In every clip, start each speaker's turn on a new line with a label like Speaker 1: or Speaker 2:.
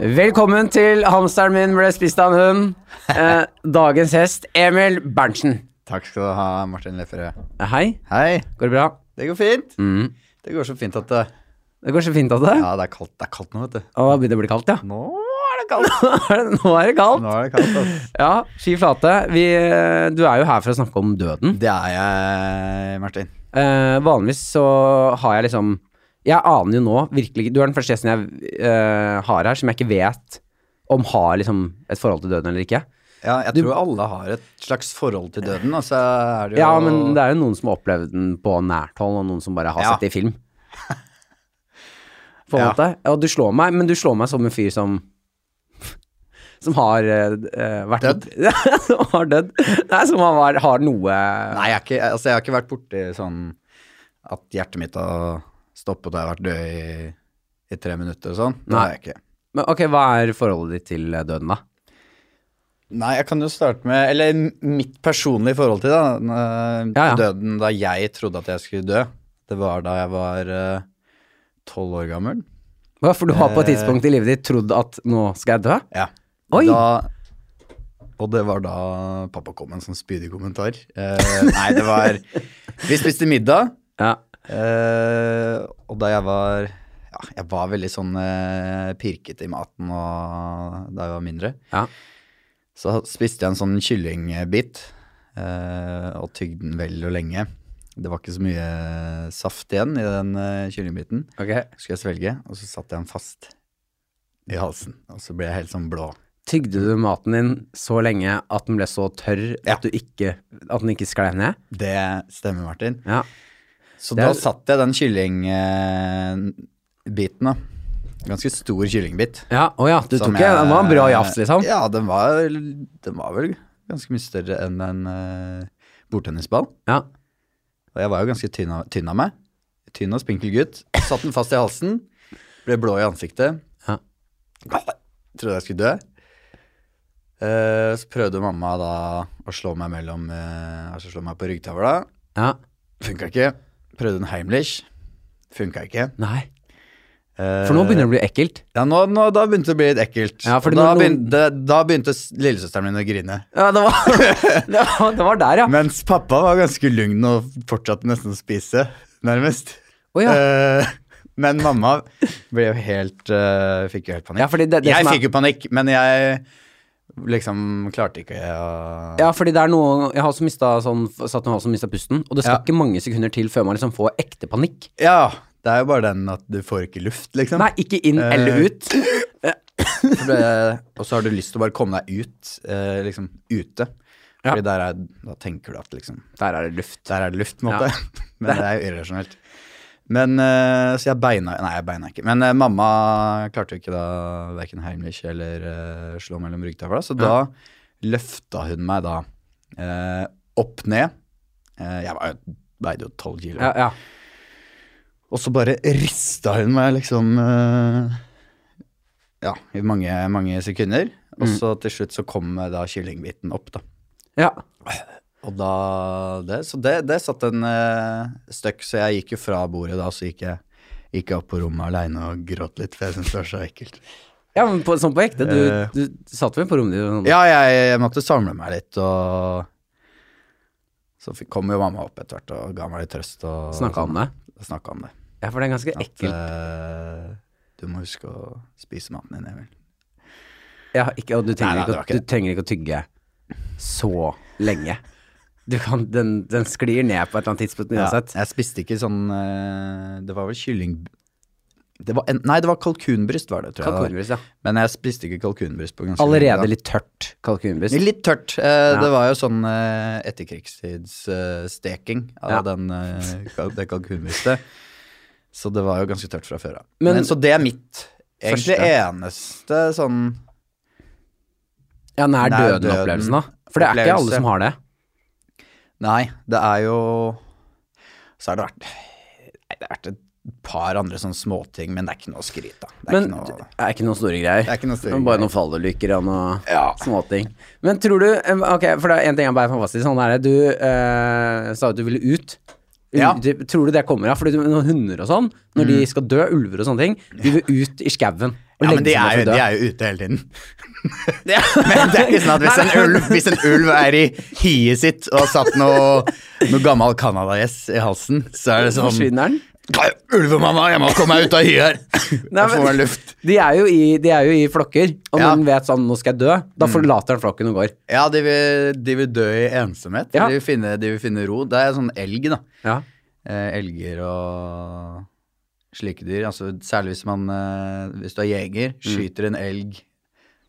Speaker 1: Velkommen til Hamsteren min ble spist av en hund. Eh, dagens hest, Emil Berntsen.
Speaker 2: Takk skal du ha, Martin Lefferød.
Speaker 1: Eh, Hei,
Speaker 2: Hei,
Speaker 1: går det bra?
Speaker 2: det går fint.
Speaker 1: Mm.
Speaker 2: Det går så fint at det
Speaker 1: Det går så fint at det
Speaker 2: Ja, det er kaldt, det er kaldt nå, vet du.
Speaker 1: Å, det begynner å bli kaldt, ja.
Speaker 2: Nå er det kaldt.
Speaker 1: Nå er det- Nå er det kaldt.
Speaker 2: Nå er det kaldt, ass.
Speaker 1: Ja, ski flate. Vi, eh, du er jo her for å snakke om døden.
Speaker 2: Det er jeg, Martin.
Speaker 1: Eh, vanligvis så har jeg liksom Jeg aner jo nå virkelig ikke Du er den første gjesten jeg eh, har her som jeg ikke vet om har liksom et forhold til døden eller ikke.
Speaker 2: Ja, jeg tror alle har et slags forhold til døden, og så er det jo
Speaker 1: Ja, men det er jo noen som har opplevd den på nært hold, og noen som bare har
Speaker 2: Ja.
Speaker 1: sett det i film. På en
Speaker 2: Ja.
Speaker 1: måte. Ja, du slår meg, men du slår meg som en fyr som Som har eh, eh, vært som har dødd. Nei, som har, var- har noe
Speaker 2: Nei, jeg, er ikke, altså, jeg har ikke vært borti sånn at hjertet mitt har stoppet og jeg har vært død i, i tre minutter og sånn. Det
Speaker 1: Nei.
Speaker 2: har jeg ikke.
Speaker 1: Men ok, hva er forholdet ditt til eh, døden, da?
Speaker 2: Nei, jeg kan jo starte med Eller mitt personlige forhold til da, n- eh,
Speaker 1: Ja, ja.
Speaker 2: døden da jeg trodde at jeg skulle dø. Det var da jeg var eh, tolv år gammel.
Speaker 1: Hva, For du har
Speaker 2: Eh.
Speaker 1: på et tidspunkt i livet ditt trodd at nå skal jeg dø?
Speaker 2: Ja.
Speaker 1: Oi!
Speaker 2: Da, og det var da pappa kom med en sånn spydig kommentar. Eh, nei, det var Vi spiste middag,
Speaker 1: Ja.
Speaker 2: eh, og da jeg var Ja, jeg var veldig sånn eh, pirket i maten og da jeg var mindre.
Speaker 1: ja.
Speaker 2: Så spiste jeg en sånn kyllingbit eh, og tygde den vel og lenge. Det var ikke så mye saft igjen i den eh, kyllingbiten.
Speaker 1: Ok.
Speaker 2: Skulle jeg svelge, og så satte jeg den fast i halsen. Og så ble jeg helt sånn blå.
Speaker 1: Tygde du maten din så lenge at den ble så tørr
Speaker 2: Ja.
Speaker 1: at, du ikke, at den ikke sklei ned?
Speaker 2: Det stemmer, Martin.
Speaker 1: Ja.
Speaker 2: Så
Speaker 1: Det er-
Speaker 2: da satt jeg den kyllingbiten, da. Ganske stor kyllingbit.
Speaker 1: Ja, å ja, du
Speaker 2: som
Speaker 1: tok jeg, det var en bra
Speaker 2: jeg- eh,
Speaker 1: jafs, liksom.
Speaker 2: Ja, den var, den var vel ganske mye større enn en eh, bordtennisball.
Speaker 1: Ja.
Speaker 2: Og jeg var jo ganske tynn av, tynn av meg. Tynn og spinkel gutt. Satt den fast i halsen. Ble blå i ansiktet.
Speaker 1: Ja.
Speaker 2: Trodde jeg skulle dø. Eh, så prøvde mamma da å slå meg mellom eh, Altså slå meg på ryggtavla.
Speaker 1: ja.
Speaker 2: Funka ikke. Prøvde en Heimlich. Funka ikke.
Speaker 1: Nei. For
Speaker 2: Eh,
Speaker 1: nå begynner det å bli ekkelt.
Speaker 2: Ja, nå, nå, da begynte det å bli litt ekkelt.
Speaker 1: Ja, fordi
Speaker 2: Og da,
Speaker 1: når noen-
Speaker 2: begynte, da begynte s- lillesøsteren min å grine.
Speaker 1: Ja, det var, det var, det var der, ja.
Speaker 2: Mens pappa var ganske lugn og fortsatte nesten å spise, nærmest.
Speaker 1: Å ja.
Speaker 2: Eh, men mamma ble jo helt eh, fikk jo helt panikk.
Speaker 1: Ja, fordi det- det som
Speaker 2: jeg
Speaker 1: er-
Speaker 2: fikk jo panikk, men jeg liksom klarte ikke å
Speaker 1: ja, fordi det er noe Jeg har også mista sånn, satt noe som mista pusten, og det skal
Speaker 2: Ja.
Speaker 1: ikke mange sekunder til før man liksom får ekte panikk.
Speaker 2: Ja, det er jo bare den at du får ikke luft, liksom.
Speaker 1: Nei, ikke inn
Speaker 2: Eh.
Speaker 1: eller ut.
Speaker 2: Så ble- og så har du lyst til å bare komme deg ut, eh, liksom ute.
Speaker 1: Ja.
Speaker 2: Fordi der er, da tenker du at liksom
Speaker 1: Der er det luft.
Speaker 2: Der er det luft, på en måte. Men det er jo irrasjonelt. Men eh, så jeg beina Nei, jeg beina ikke. Men eh, mamma klarte jo ikke da verken Heimlich eller eh, slå mellom ryggtavla, så da løfta hun meg da eh, opp ned. Eh, jeg var, jo- veide jo tolv kilo.
Speaker 1: Ja, ja.
Speaker 2: Og så bare rista hun meg liksom eh, Ja, i mange, mange sekunder. Og så til slutt så kom eh, da kyllingbiten opp, da.
Speaker 1: ja.
Speaker 2: Og da det, Så det, det satt en eh, støkk, så jeg gikk jo fra bordet da, så gikk jeg gikk jeg opp på rommet aleine og gråt litt, for jeg syntes det var så ekkelt.
Speaker 1: ja men på, sånn på ekte.
Speaker 2: Eh.
Speaker 1: Du, du satt vel på rommet ditt? og sånn.
Speaker 2: Ja, jeg, jeg måtte samle meg litt, og så fikk, kom jo mamma opp etter hvert og ga meg litt trøst. Og,
Speaker 1: Snakka om det?
Speaker 2: Snakka om det.
Speaker 1: Ja, for det er ganske
Speaker 2: At
Speaker 1: ekkelt.
Speaker 2: eh, du må huske å spise maten din, Emil.
Speaker 1: Ja, ikke, og du trenger,
Speaker 2: Nei, nei, det var
Speaker 1: ikke,
Speaker 2: ikke
Speaker 1: å- du trenger ikke å tygge så lenge. Du kan, den, den sklir ned på et eller annet tidspunkt
Speaker 2: Ja,
Speaker 1: uansett.
Speaker 2: jeg spiste ikke sånn eh, Det var vel kylling... Det var en, nei, det var kalkunbryst, var det, tror jeg. det var.
Speaker 1: Kalkunbryst, ja.
Speaker 2: Men jeg spiste ikke kalkunbryst på ganske lenge, da.
Speaker 1: Allerede litt tørt kalkunbryst.
Speaker 2: Litt tørt. Eh, Det var jo sånn eh, etterkrigstidssteking av
Speaker 1: Ja.
Speaker 2: den, eh, kal- det kalkunbrystet. Så det var jo ganske tørt fra før av.
Speaker 1: Men-
Speaker 2: Men, så det er mitt egentlig
Speaker 1: Første.
Speaker 2: eneste sånn
Speaker 1: Ja, nær
Speaker 2: Nær
Speaker 1: døden-opplevelsen, da.
Speaker 2: døden
Speaker 1: For det er ikke alle
Speaker 2: opplevelse.
Speaker 1: som har det.
Speaker 2: Nei, det er jo Så har det vært Nei, det har vært et par andre sånne småting, men det er ikke noe å skryte av. Det er
Speaker 1: Men
Speaker 2: ikke noe
Speaker 1: det er ikke noen store greier.
Speaker 2: Det er ikke noen store
Speaker 1: Men Bare
Speaker 2: greier.
Speaker 1: noen fallulykker og noen småting. Men tror du eh, Ok, for det er en ting jeg bare får fast i. Sånn er det. Du eh, sa at du ville ut. Ul-
Speaker 2: Ja. Mm.
Speaker 1: du- Tror du det kommer av? Fordi du- noen hunder og sånn, når de skal dø, ulver og sånne ting, de vil ut i skauen. og
Speaker 2: Ja,
Speaker 1: legge
Speaker 2: men de
Speaker 1: seg
Speaker 2: er, jo,
Speaker 1: ned for å
Speaker 2: de
Speaker 1: dø.
Speaker 2: er jo ute hele tiden. Men det er ikke sånn at hvis en ulv, hvis en ulv er i hiet sitt og har satt noe, noe gammel canadagjess i halsen, så er det sånn
Speaker 1: Forsvinner den?
Speaker 2: Ulvemamma, jeg må komme meg ut av hiet her!
Speaker 1: Nei,
Speaker 2: Jeg får
Speaker 1: men-
Speaker 2: meg luft.
Speaker 1: De er jo i, de er jo i flokker, og
Speaker 2: Ja. Mm.
Speaker 1: når den vet sånn 'nå skal jeg dø', da forlater den flokken og går.
Speaker 2: Ja, de vil, de vil dø i ensomhet.
Speaker 1: Ja.
Speaker 2: De, vil finne, de vil finne ro. Det er sånn elg, da.
Speaker 1: Ja.
Speaker 2: Eh, elger og slike dyr. Altså, særlig hvis, man, eh, hvis du er jeger, skyter en elg,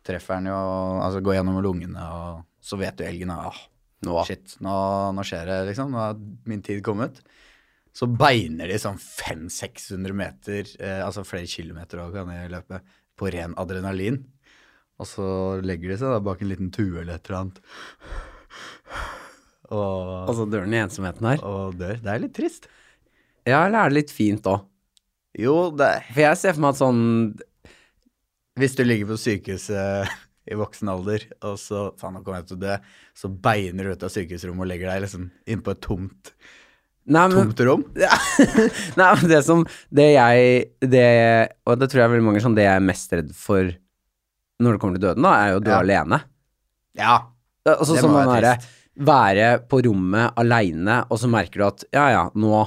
Speaker 2: treffer den jo Altså går gjennom lungene, og så vet du elgen er ah,
Speaker 1: Nå.
Speaker 2: Shit, nå, nå skjer det, liksom. Nå er min tid kommet. Så beiner de sånn 500-600 meter, eh, altså flere kilometer òg kan de løpe, på ren adrenalin. Og så legger de seg da bak en liten tue eller et eller annet. Og,
Speaker 1: Og så dør den i ensomheten her.
Speaker 2: og dør. Det er litt trist.
Speaker 1: Ja, eller er det litt fint òg?
Speaker 2: Jo, det er
Speaker 1: For jeg ser for meg at sånn
Speaker 2: Hvis du ligger på sykehuset i voksen alder, og så faen, nå kommer jeg til å dø, så beiner du ut av sykehusrommet og legger deg liksom inn på et tomt,
Speaker 1: Nei, men,
Speaker 2: tomt rom.
Speaker 1: nei, men det som Det jeg det, Og det tror jeg er veldig mange sånn Det jeg er mest redd for når det kommer til døden, da, er jo å dø
Speaker 2: Ja.
Speaker 1: alene.
Speaker 2: Ja.
Speaker 1: Altså
Speaker 2: Det
Speaker 1: som
Speaker 2: må
Speaker 1: den
Speaker 2: være
Speaker 1: derre være på rommet aleine, og så merker du at ja, ja, nå,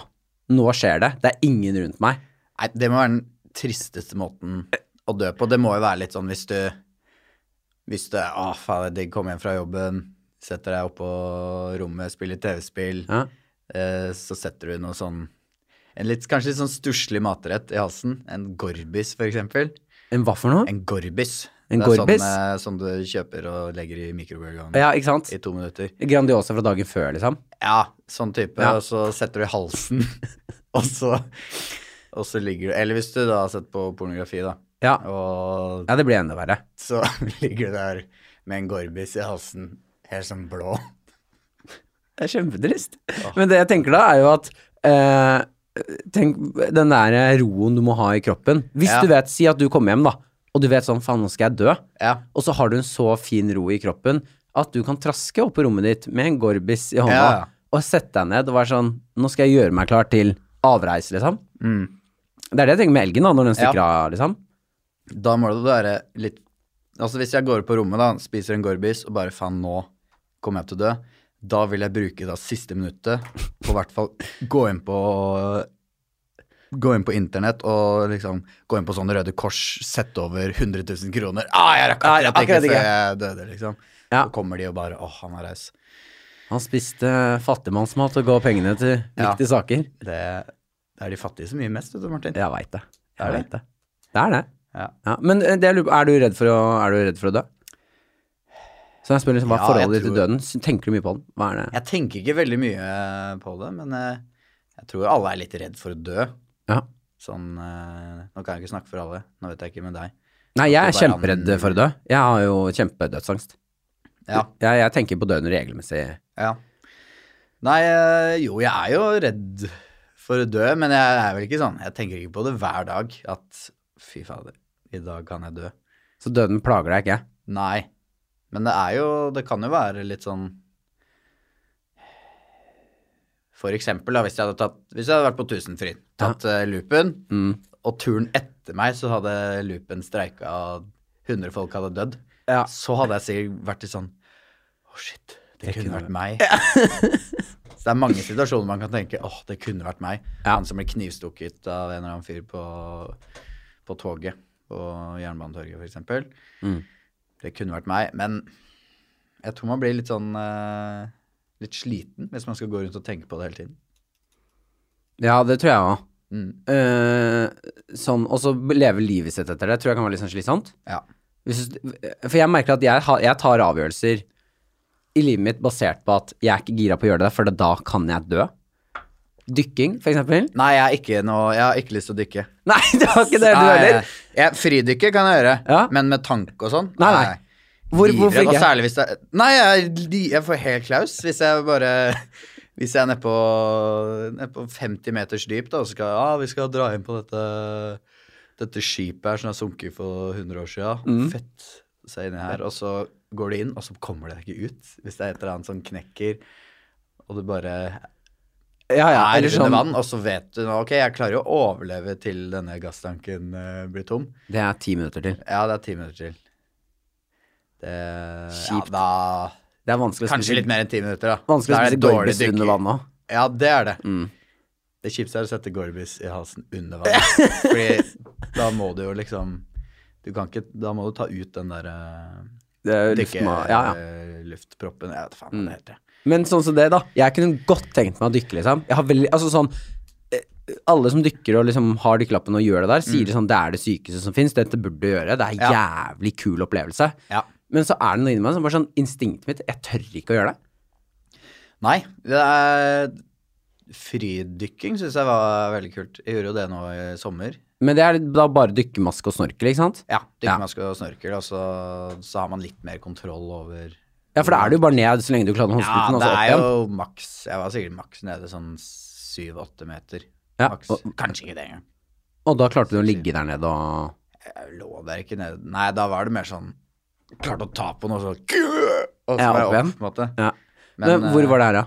Speaker 1: nå skjer det. Det er ingen rundt meg.
Speaker 2: Nei, det må være den tristeste måten å dø på. Det må jo være litt sånn hvis du Hvis du Å, faen, det er digg, kom hjem fra jobben, setter deg opp på rommet, spiller TV-spill,
Speaker 1: Ja.
Speaker 2: eh, så setter du noe sånn en litt, Kanskje litt sånn stusslig matrett i halsen. En gorbis, for eksempel.
Speaker 1: En hva for noe?
Speaker 2: En gorbis.
Speaker 1: En
Speaker 2: det er
Speaker 1: gorbis?
Speaker 2: Sånn, eh, sånn du kjøper og legger i mikrobølgeovnen
Speaker 1: Ja, ikke sant?
Speaker 2: i to minutter.
Speaker 1: Grandiosa fra dagen før, liksom.
Speaker 2: Ja, sånn type.
Speaker 1: Ja.
Speaker 2: Og så setter du i halsen, og så og så ligger du Eller hvis du da har sett på pornografi, da,
Speaker 1: Ja,
Speaker 2: og
Speaker 1: ja det blir enda verre.
Speaker 2: så ligger du der med en gorbis i halsen, helt sånn blå.
Speaker 1: Det er kjempetrist. Men det jeg tenker da, er jo at eh, Tenk den der roen du må ha i kroppen. Hvis
Speaker 2: Ja.
Speaker 1: du vet, si at du kommer hjem, da, og du vet sånn faen, nå skal jeg dø,
Speaker 2: Ja.
Speaker 1: og så har du en så fin ro i kroppen at du kan traske opp på rommet ditt med en gorbis i hånda
Speaker 2: Ja.
Speaker 1: og sette deg ned og være sånn Nå skal jeg gjøre meg klar til avreise, liksom.
Speaker 2: Mm.
Speaker 1: Det er det jeg tenker med elgen, da, når den stikker av, liksom.
Speaker 2: Da må det være litt Altså hvis jeg går på rommet, da, spiser en gorbis og bare faen, nå kommer jeg til å dø, da vil jeg bruke da siste minuttet på i hvert fall gå inn på Gå inn på internett og liksom gå inn på sånne Røde Kors, sette over 100 000 kroner. Ah, jeg rakk
Speaker 1: Nei,
Speaker 2: akkurat ikke
Speaker 1: akkurat ikke.
Speaker 2: før jeg døde, liksom.
Speaker 1: Ja.
Speaker 2: Så kommer de og bare åh, han er raus.
Speaker 1: Han spiste fattigmannsmat og ga pengene til
Speaker 2: Ja.
Speaker 1: viktige saker.
Speaker 2: Det, det er de fattige som gir mest, vet du, Martin.
Speaker 1: Jeg veit det.
Speaker 2: Er
Speaker 1: Jeg
Speaker 2: det?
Speaker 1: vet det. Det er det.
Speaker 2: Ja.
Speaker 1: Ja, men eh, det jeg lurer på, er du redd for å, er du redd for å dø? Så jeg spør liksom, Hva er
Speaker 2: Ja, jeg
Speaker 1: forholdet ditt til
Speaker 2: tror-
Speaker 1: døden? S- Tenker du mye på den? Hva er det?
Speaker 2: Jeg tenker ikke veldig mye på det, men eh, jeg tror alle er litt redd for å dø.
Speaker 1: Ja.
Speaker 2: Sånn eh, Nå kan jeg ikke snakke for alle, nå vet jeg ikke med deg.
Speaker 1: Nei, jeg er
Speaker 2: At det bare
Speaker 1: kjemperedd
Speaker 2: an-
Speaker 1: for å dø. Jeg har jo kjempedødsangst.
Speaker 2: Ja,
Speaker 1: Jeg, jeg tenker på døden regelmessig.
Speaker 2: ja. Nei, eh, jo, jeg er jo redd for å dø, men jeg er vel ikke sånn Jeg tenker ikke på det hver dag at fy fader, i dag kan jeg dø.
Speaker 1: Så døden plager deg ikke.
Speaker 2: Nei. Men det er jo Det kan jo være litt sånn For eksempel, da, hvis jeg hadde, tatt, hvis jeg hadde vært på Tusenfryd, tatt eh, loopen,
Speaker 1: Mm.
Speaker 2: og turen etter meg så hadde loopen streika, og 100 folk hadde dødd,
Speaker 1: Ja.
Speaker 2: så hadde jeg sikkert vært litt sånn Å, shit, det, kunne
Speaker 1: kunne
Speaker 2: vært meg. så det er mange situasjoner man kan tenke åh, det kunne vært meg.
Speaker 1: Ja.
Speaker 2: Han som ble knivstukket av en eller annen fyr på, på toget på Jernbanetorget, for eksempel.
Speaker 1: Mm.
Speaker 2: Det kunne vært meg, men jeg tror man blir litt sånn eh, Litt sliten hvis man skal gå rundt og tenke på det hele tiden.
Speaker 1: ja, det tror jeg òg.
Speaker 2: Mm.
Speaker 1: sånn, og så leve livet sitt etter det tror jeg kan være litt sånn slitsomt.
Speaker 2: Ja.
Speaker 1: Hvis, for jeg merker at jeg, har- jeg tar avgjørelser i livet mitt basert på at jeg er ikke gira på å gjøre det, for da kan jeg dø. Dykking, for eksempel.
Speaker 2: Nei, jeg, er ikke noe, jeg har ikke lyst til å dykke.
Speaker 1: Nei, det var ikke det du
Speaker 2: Nei,
Speaker 1: heller.
Speaker 2: Jeg, fridykke kan jeg gjøre,
Speaker 1: Ja.
Speaker 2: men med tank og sånn
Speaker 1: Nei, nei. Hvor,
Speaker 2: Livredd,
Speaker 1: hvorfor
Speaker 2: Og
Speaker 1: ikke?
Speaker 2: særlig hvis det er Nei, jeg, er li- jeg får helt klaus hvis jeg bare Hvis jeg er nedpå ned på 50 meters dyp, da, og så skal jeg ah, vi skal dra inn på dette dette skipet her som har sunket for 100 år siden.
Speaker 1: Mm.
Speaker 2: Fett. Så er jeg inni her, og så går det inn, og så kommer det ikke ut. Hvis det er et eller annet som knekker, og du bare
Speaker 1: Ja, ja,
Speaker 2: er
Speaker 1: eller
Speaker 2: under
Speaker 1: sånn,
Speaker 2: vann, og så vet du nå, ok, jeg klarer jo å overleve til denne gasstanken eh, blir tom.
Speaker 1: det er ti minutter til.
Speaker 2: Ja, det er ti minutter til. Det,
Speaker 1: Kjipt.
Speaker 2: Ja, da,
Speaker 1: Det er vanskelig å
Speaker 2: kanskje
Speaker 1: spise,
Speaker 2: litt mer enn ti minutter, da.
Speaker 1: vanskelig å
Speaker 2: Da er
Speaker 1: spise
Speaker 2: det dårlig
Speaker 1: gorbis
Speaker 2: dykker.
Speaker 1: under vann òg.
Speaker 2: Ja, det er det.
Speaker 1: Mm.
Speaker 2: Det kjipeste er å sette gorbis i halsen under vann. Fordi da må du jo liksom Du kan ikke Da må du ta ut den der eh,
Speaker 1: Det er jo
Speaker 2: dykke-
Speaker 1: luftma... Ja, ja.
Speaker 2: eh, luftproppen Jeg vet faen hva det heter.
Speaker 1: Men sånn som det, da. Jeg kunne godt tenkt meg å dykke, liksom. Jeg har veldig, altså sånn eh, Alle som dykker og liksom har dykkerlappen og gjør det der,
Speaker 2: Mm.
Speaker 1: sier det sånn det er det sykeste som fins, dette burde du gjøre, det er en jævlig kul opplevelse.
Speaker 2: Ja.
Speaker 1: Men så er det noe inni meg som bare sånn Instinktet mitt, jeg tør ikke å gjøre det.
Speaker 2: Nei, det er Fridykking syns jeg var veldig kult. Jeg gjorde jo det nå i sommer.
Speaker 1: Men det er da bare dykkermaske og snorkel, ikke sant?
Speaker 2: Ja,
Speaker 1: Ja.
Speaker 2: Dykkemaske og snorkel, og så, så har man litt mer kontroll over
Speaker 1: Ja, for da er det jo bare ned så lenge du klarer
Speaker 2: Ja,
Speaker 1: håndsputen, og
Speaker 2: det
Speaker 1: så altså, opp
Speaker 2: er
Speaker 1: igjen.
Speaker 2: jo maks Jeg var sikkert maks nede sånn syv-åtte meter.
Speaker 1: Ja,
Speaker 2: Maks.
Speaker 1: og,
Speaker 2: Kanskje ikke det engang.
Speaker 1: og da klarte du å ligge der nede og
Speaker 2: Jeg lå der ikke nede. Nei, da var det mer sånn Klarte å ta på noe sånn Og så
Speaker 1: Ja,
Speaker 2: var
Speaker 1: opp
Speaker 2: jeg opp,
Speaker 1: igjen.
Speaker 2: på en måte.
Speaker 1: Ja. Men,
Speaker 2: eh,
Speaker 1: hvor var det her, da?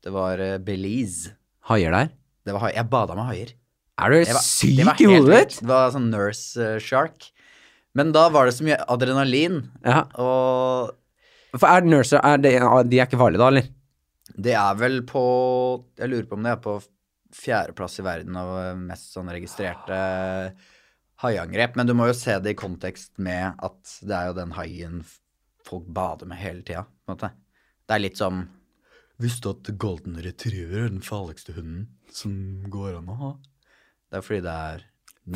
Speaker 2: Det var eh, Belize.
Speaker 1: Haier der?
Speaker 2: Det var hai- jeg bada med haier.
Speaker 1: Er du
Speaker 2: Det var- det var
Speaker 1: syk i
Speaker 2: helt
Speaker 1: hodet
Speaker 2: vilt.
Speaker 1: ditt?
Speaker 2: Det var sånn nurse eh, shark. Men da var det så mye adrenalin,
Speaker 1: Ja.
Speaker 2: og
Speaker 1: For er nurser er det, De er ikke farlige, da, eller?
Speaker 2: det er vel på Jeg lurer på om det er på fjerdeplass i verden av eh, mest sånn registrerte haiangrep. Men du må jo se det i kontekst med at det er jo den haien f- folk bader med hele tida, på en måte. Det er litt som Visste du at golden retriever er den farligste hunden som går an å ha? Det er fordi det er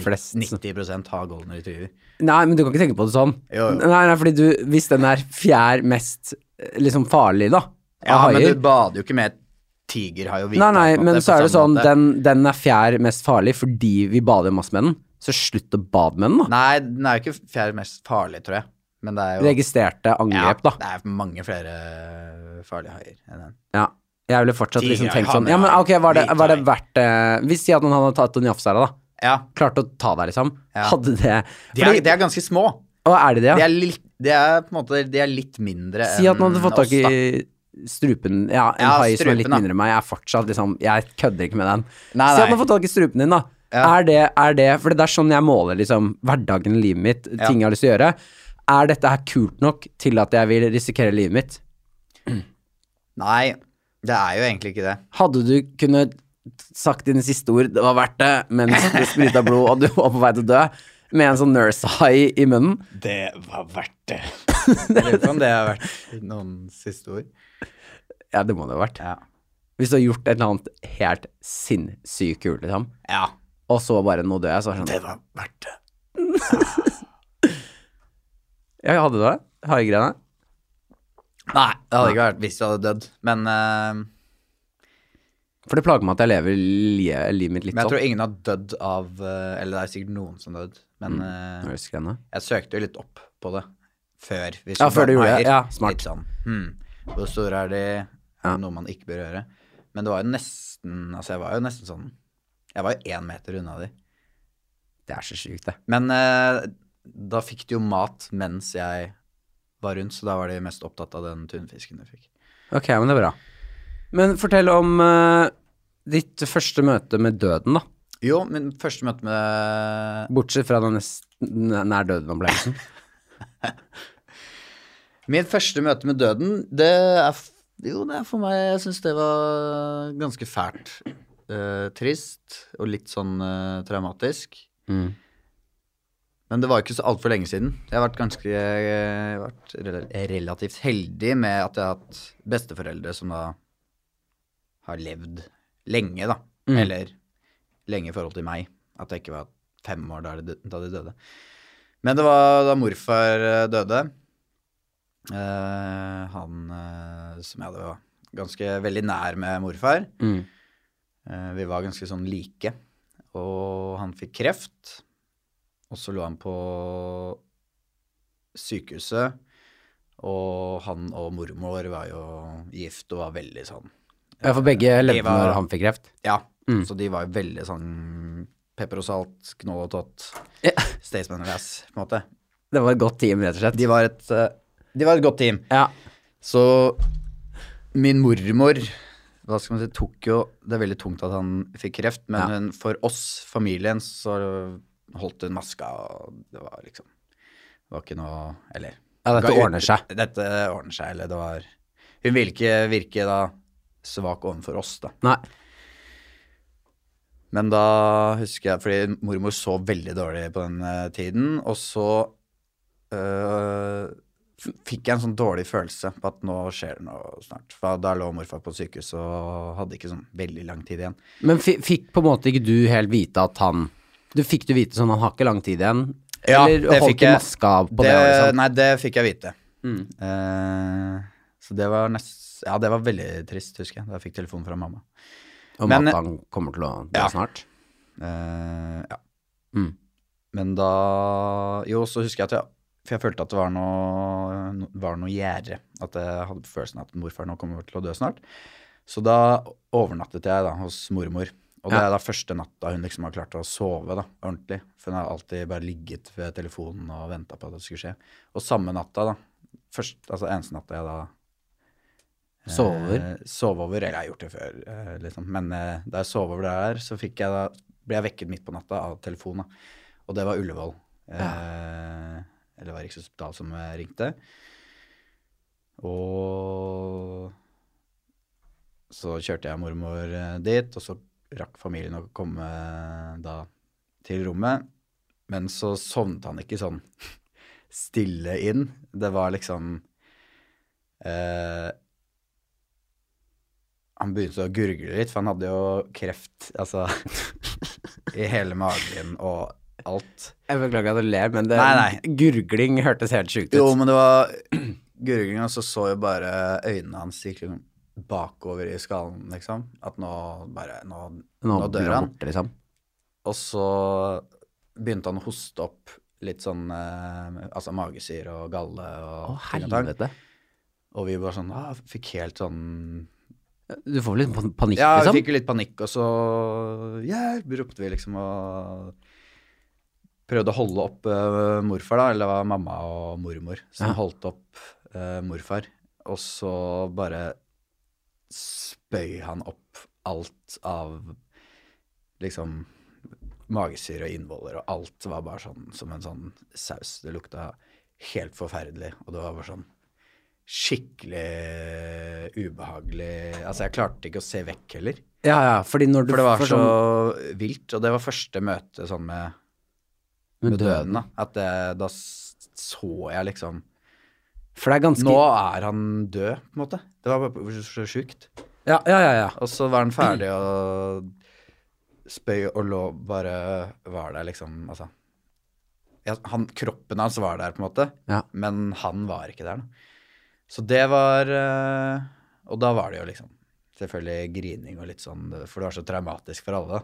Speaker 1: Flest.
Speaker 2: 90 har golden retriever.
Speaker 1: Nei, men du kan ikke tenke på det sånn.
Speaker 2: Jo, jo.
Speaker 1: Nei, nei, fordi du, hvis den er fjær mest eh, liksom farlig, da,
Speaker 2: Ja,
Speaker 1: av
Speaker 2: men
Speaker 1: haier
Speaker 2: du bader jo ikke med tigerhai og hvithai.
Speaker 1: Nei, nei,
Speaker 2: på en måte,
Speaker 1: men
Speaker 2: på
Speaker 1: så er det
Speaker 2: samme
Speaker 1: sånn,
Speaker 2: måte.
Speaker 1: den, den er fjær mest farlig fordi vi bader masse med den. Så slutt å bade med den, da.
Speaker 2: Nei, den er jo ikke fjerde mest farlig, tror jeg. Men det er jo
Speaker 1: Registrerte angrep, da.
Speaker 2: Det er mange flere øh, farlige haier enn den.
Speaker 1: Ja. Jeg ville fortsatt liksom
Speaker 2: Tigerhai,
Speaker 1: tenkt sånn Ja, men
Speaker 2: hannhai,
Speaker 1: ok, var det, var det
Speaker 2: hvithai.
Speaker 1: verdt det? Hvis de hadde, han hadde tatt en jafs her, da.
Speaker 2: Ja.
Speaker 1: Klarte å ta deg, liksom.
Speaker 2: Ja.
Speaker 1: Hadde det
Speaker 2: De er,
Speaker 1: Fordi,
Speaker 2: de er ganske små.
Speaker 1: Å, er det det,
Speaker 2: De
Speaker 1: ja?
Speaker 2: er, litt, de er på en måte de er litt mindre
Speaker 1: Si at man hadde fått
Speaker 2: enn oss,
Speaker 1: tak i
Speaker 2: da.
Speaker 1: strupen Ja, en
Speaker 2: Ja,
Speaker 1: hai som er litt
Speaker 2: strupen, da.
Speaker 1: mindre enn meg. Jeg er fortsatt liksom Jeg kødder ikke med den. Si at
Speaker 2: Nei,
Speaker 1: man
Speaker 2: nei.
Speaker 1: har fått tak i strupen din, da.
Speaker 2: Ja.
Speaker 1: Er, det, er det For det er sånn jeg måler liksom hverdagen i livet mitt, ting jeg har lyst til å gjøre. Er dette her kult nok til at jeg vil risikere livet mitt?
Speaker 2: Nei, det er jo egentlig ikke det.
Speaker 1: Hadde du kunnet sagt dine siste ord 'det var verdt det' mens du spruta blod og du var på vei til å dø, med en sånn nurse high i munnen?
Speaker 2: Det var verdt det. Jeg lurer på om det har vært noen siste ord.
Speaker 1: Ja, det må det ha vært.
Speaker 2: Ja.
Speaker 1: Hvis du har gjort et eller annet helt sinnssykt kult, liksom,
Speaker 2: ja.
Speaker 1: og så bare 'nå dør jeg', så er det sånn
Speaker 2: Det var verdt det.
Speaker 1: Ja, jeg hadde det. Haigreiene.
Speaker 2: Nei, det hadde ikke vært hvis du hadde dødd. Men, eh,
Speaker 1: For det plager meg at jeg lever li- livet mitt litt
Speaker 2: men jeg
Speaker 1: sånn.
Speaker 2: tror ingen har dødd av eh, Eller det er sikkert noen som har dødd,
Speaker 1: Mm.
Speaker 2: men eh,
Speaker 1: Nurse-greiene.
Speaker 2: jeg søkte jo litt opp på det før. hvis
Speaker 1: Ja,
Speaker 2: vi
Speaker 1: før du
Speaker 2: var
Speaker 1: gjorde det.
Speaker 2: meier.
Speaker 1: Ja, smart.
Speaker 2: Litt sånn hmm, Hvor store er de? Er det Noe man ikke bør gjøre. Men det var jo nesten Altså, jeg var jo nesten sånn Jeg var jo én meter unna de.
Speaker 1: Det er så sjukt, det.
Speaker 2: Men eh, da fikk de jo mat mens jeg var rundt, så da var de mest opptatt av den tunfisken de fikk.
Speaker 1: Ok, men det er bra. Men fortell om eh, ditt første møte med døden, da.
Speaker 2: Jo, min første møte med
Speaker 1: Bortsett fra den nest- n- nær døden-opplevelsen.
Speaker 2: Mitt første møte med døden, det er f- Jo, det er for meg Jeg syns det var ganske fælt. Eh, trist og litt sånn eh, traumatisk.
Speaker 1: Mm.
Speaker 2: Men det var jo ikke så altfor lenge siden. Jeg har vært ganske jeg har vært rel- relativt heldig med at jeg har hatt besteforeldre som da har levd lenge, da.
Speaker 1: Mm.
Speaker 2: Eller lenge i forhold til meg. At jeg ikke var fem år da de dø- da de døde. Men det var da morfar eh, døde. Eh, han eh, som jeg hadde var ganske veldig nær med morfar.
Speaker 1: Mm.
Speaker 2: Eh, Vi var ganske sånn like. Og han fikk kreft. Og så lå han på sykehuset. Og han og mormor var jo gift og var veldig sånn eh,
Speaker 1: Ja, for begge
Speaker 2: De
Speaker 1: levde
Speaker 2: var-
Speaker 1: når han fikk kreft.
Speaker 2: Ja.
Speaker 1: Mm.
Speaker 2: Så de var jo veldig sånn pepper og salt, knoll og tott,
Speaker 1: Ja.
Speaker 2: Staysman og Lass, på en måte.
Speaker 1: Det var et godt team, rett og slett.
Speaker 2: De var et, eh, de var et godt team.
Speaker 1: Ja.
Speaker 2: Så min mormor Da skal man si, tok jo, Det er veldig tungt at han fikk kreft, men
Speaker 1: Ja.
Speaker 2: hun, for oss, familien, så holdt hun maska, og det var liksom Det var ikke noe Eller
Speaker 1: Ja, dette
Speaker 2: ga ut-
Speaker 1: ordner seg.
Speaker 2: Dette ordner seg, eller det var Hun ville ikke virke da svak overfor oss, da.
Speaker 1: Nei.
Speaker 2: Men da husker jeg, fordi mormor så veldig dårlig på den eh, tiden, og så øh, f- fikk jeg en sånn dårlig følelse på at nå skjer det noe snart. For da lå morfar på sykehus og hadde ikke sånn veldig lang tid igjen.
Speaker 1: Men fi- fikk på en måte ikke du helt vite at han du Fikk du vite sånn han har ikke lang tid igjen?
Speaker 2: Ja,
Speaker 1: Eller
Speaker 2: det fikk
Speaker 1: holdt du
Speaker 2: jeg.
Speaker 1: maska på det?
Speaker 2: Det,
Speaker 1: liksom?
Speaker 2: nei, det fikk jeg vite.
Speaker 1: Mm.
Speaker 2: Eh, så det var nest, ja, det var veldig trist, husker jeg, da jeg fikk telefonen fra mamma.
Speaker 1: Om
Speaker 2: men-
Speaker 1: at han kommer til å dø
Speaker 2: Ja.
Speaker 1: snart?
Speaker 2: Eh, ja.
Speaker 1: Mm.
Speaker 2: Men da Jo, så husker jeg at jeg For jeg følte at det var noe, no- var noe gjerde. At jeg hadde følelsen av at morfar nå kommer til å dø snart. Så da overnattet jeg da hos mormor. Og det
Speaker 1: Ja.
Speaker 2: er da første natta hun liksom har klart å sove da, ordentlig. For hun har alltid bare ligget ved telefonen og venta på at det skulle skje. Og samme natta, da. Først, altså eneste natta jeg da
Speaker 1: Sove over?
Speaker 2: Eh, sove over, eller jeg har gjort det før, eh, liksom. men eh, da jeg sov over der, så fikk jeg da, ble jeg vekket midt på natta av telefon. Da. Og det var Ullevål. Eh, Eller det var Rikshospitalet som eh, ringte. Og så kjørte jeg mormor eh, dit, og så rakk familien å komme eh, da til rommet. Men så sovnet han ikke sånn stille inn. Det var liksom eh, han begynte å gurgle litt, for han hadde jo kreft altså, i hele magen og alt.
Speaker 1: Jeg beklager at du ler, men det,
Speaker 2: Nei,
Speaker 1: gurgling hørtes helt sjukt ut.
Speaker 2: Jo, men det var gurgling, og så så jo bare øynene hans gikk liksom bakover i skallen, liksom. At nå bare Nå,
Speaker 1: nå,
Speaker 2: nå
Speaker 1: blir
Speaker 2: dør
Speaker 1: han
Speaker 2: han.
Speaker 1: borte, liksom.
Speaker 2: Og så begynte han å hoste opp litt sånn eh, Altså magesyre og galle og
Speaker 1: Å,
Speaker 2: ting og tang.
Speaker 1: helvete.
Speaker 2: Og vi bare sånn ah, Fikk helt sånn
Speaker 1: Du får vel litt pan- panikk,
Speaker 2: Ja, vi
Speaker 1: liksom?
Speaker 2: fikk jo litt panikk, og så hjelp, ropte vi liksom og prøvde å holde opp eh, morfar, da, eller det var mamma og mormor som
Speaker 1: Ja.
Speaker 2: holdt opp eh, morfar. Og så bare spøy han opp alt av liksom magesyre og innvoller, og alt var bare sånn som en sånn saus. Det lukta helt forferdelig, og det var bare sånn skikkelig ubehagelig Altså, jeg klarte ikke å se vekk heller.
Speaker 1: Ja, ja, fordi når du
Speaker 2: For det var
Speaker 1: får
Speaker 2: så
Speaker 1: sånn-
Speaker 2: vilt, og det var første møte sånn med,
Speaker 1: med
Speaker 2: med
Speaker 1: døden.
Speaker 2: døden, da. At det, da s- så jeg liksom
Speaker 1: For det er ganske
Speaker 2: Nå er han død, på en måte. Det var bare så- så sjukt.
Speaker 1: Ja, ja, ja. ja.
Speaker 2: Og så var han ferdig og spøy og lå bare Var der, liksom, altså. Ja, han, kroppen hans var der, på en måte.
Speaker 1: ja.
Speaker 2: Men han var ikke der, da. Så det var eh, Og da var det jo liksom selvfølgelig grining og litt sånn, for det var så traumatisk for alle. da.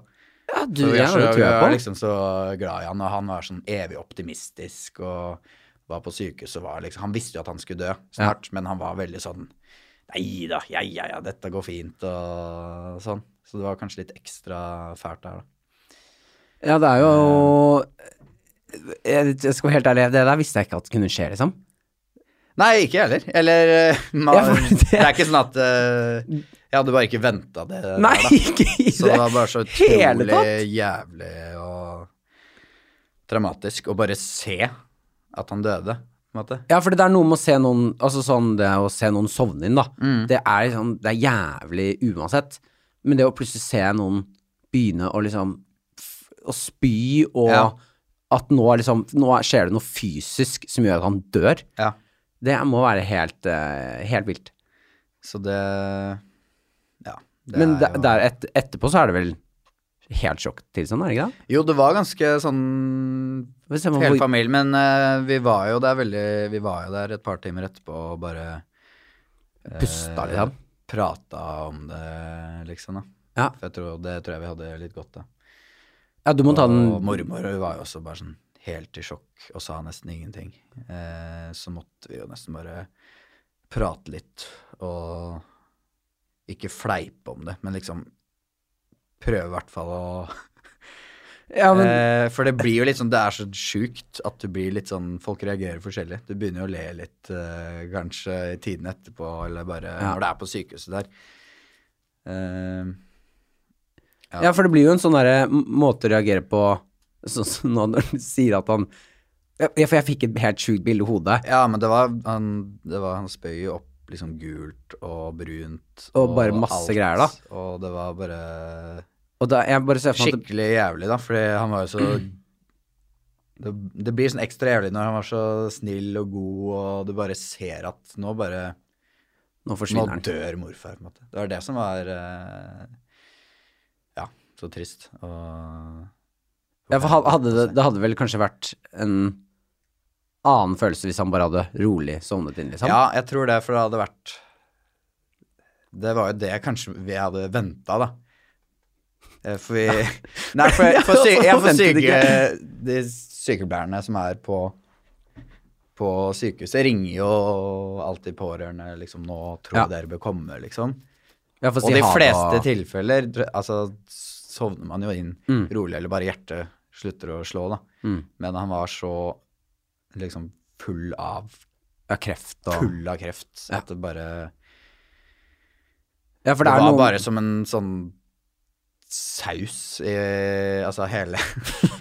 Speaker 1: ja du,
Speaker 2: Så vi,
Speaker 1: ja,
Speaker 2: er så,
Speaker 1: det tror
Speaker 2: vi
Speaker 1: jeg
Speaker 2: var
Speaker 1: på.
Speaker 2: liksom så glad i han, og han var sånn evig optimistisk og var på sykehus og var liksom Han visste jo at han skulle dø snart, men han var veldig sånn Nei da, ja ja ja, dette går fint og sånn. Så det var kanskje litt ekstra fælt der, da. liksom-
Speaker 1: Ja, det er jo
Speaker 2: Mm.
Speaker 1: jeg, jeg skal være helt ærlig, det der visste jeg ikke at kunne skje, liksom.
Speaker 2: Nei, ikke jeg heller. Eller eh, man,
Speaker 1: Ja, for det-
Speaker 2: det... er ikke sånn at eh, Jeg hadde bare ikke venta det. der,
Speaker 1: Nei,
Speaker 2: da.
Speaker 1: ikke i
Speaker 2: Eh, Så det var bare så
Speaker 1: hele
Speaker 2: utrolig jævlig og dramatisk å bare se at han døde, på en måte.
Speaker 1: Ja, for det er noe med å se noen Altså sånn det å se noen sovne inn, da. Det er liksom Det er jævlig uansett. Men det å plutselig se noen begynne å liksom f- Å spy og
Speaker 2: Ja.
Speaker 1: At nå er liksom Nå er- skjer det noe fysisk som gjør at han dør.
Speaker 2: Ja.
Speaker 1: Det må være helt, eh, helt vilt.
Speaker 2: Så det Ja. Det
Speaker 1: Men
Speaker 2: er
Speaker 1: der,
Speaker 2: jo-
Speaker 1: der et, etterpå så er det vel helt sjokktilstand, er det ikke det?
Speaker 2: Jo, det var ganske sånn
Speaker 1: Får vi se om
Speaker 2: Hele
Speaker 1: hvor-
Speaker 2: familien, men eh, vi var jo der veldig Vi var jo der et par timer etterpå og bare eh,
Speaker 1: Pusta litt, ja.
Speaker 2: Prata om det, liksom, da.
Speaker 1: Ja.
Speaker 2: For jeg tror, det tror jeg vi hadde litt godt av.
Speaker 1: Ja, du må ta
Speaker 2: Og
Speaker 1: den
Speaker 2: mormor hun var jo også bare sånn helt i sjokk og sa nesten ingenting. Eh, så måtte vi jo nesten bare prate litt og ikke fleipe om det, men liksom prøve i hvert fall å
Speaker 1: Ja, men
Speaker 2: eh, For det blir jo litt sånn, det er så sjukt at du blir litt sånn Folk reagerer forskjellig. Du begynner jo å le litt eh, kanskje i tiden etterpå, eller bare
Speaker 1: Ja.
Speaker 2: når du er på sykehuset der. Eh, Ja.
Speaker 1: Ja, for det blir jo en sånn derre m- måte å reagere på Sånn som nå når han sier at han Ja, for jeg fikk et helt sjukt bilde i hodet.
Speaker 2: ja, men det var han, det var, han spøy jo opp liksom gult og brunt.
Speaker 1: Og bare masse greier, da.
Speaker 2: Og det var bare
Speaker 1: Og da jeg bare ser for meg at det,
Speaker 2: skikkelig jævlig, da, fordi han var jo så det, det blir sånn ekstra jævlig når han var så snill og god, og du bare ser at nå bare
Speaker 1: Nå
Speaker 2: Nå
Speaker 1: forsvinner han.
Speaker 2: dør morfar, på en måte. Det var det som var eh, Ja, så trist. Og
Speaker 1: Ja, for ha- hadde det, det hadde vel kanskje vært en annen følelse hvis han bare hadde rolig sovnet inn, liksom.
Speaker 2: Ja, jeg tror det, for det hadde vært Det var jo det kanskje vi hadde venta, da. Eh, For vi Nei, for, for, sy, ja, for
Speaker 1: Forventet
Speaker 2: syke,
Speaker 1: ikke.
Speaker 2: de sykepleierne som er på på sykehuset ringer jo alltid pårørende liksom 'Nå tror
Speaker 1: Ja.
Speaker 2: jeg dere bør komme', liksom.
Speaker 1: Ja, for å
Speaker 2: Og
Speaker 1: si
Speaker 2: de
Speaker 1: ha det
Speaker 2: fleste
Speaker 1: og-
Speaker 2: tilfeller dr- altså, sovner man jo inn
Speaker 1: Mm.
Speaker 2: rolig, eller bare hjertet slutter å slå. Da.
Speaker 1: Mm.
Speaker 2: Men han var så liksom full av,
Speaker 1: Ja, kreft og
Speaker 2: full av kreft at det bare
Speaker 1: Ja, for
Speaker 2: Det
Speaker 1: det er
Speaker 2: var
Speaker 1: noen
Speaker 2: bare som en sånn saus i Altså hele,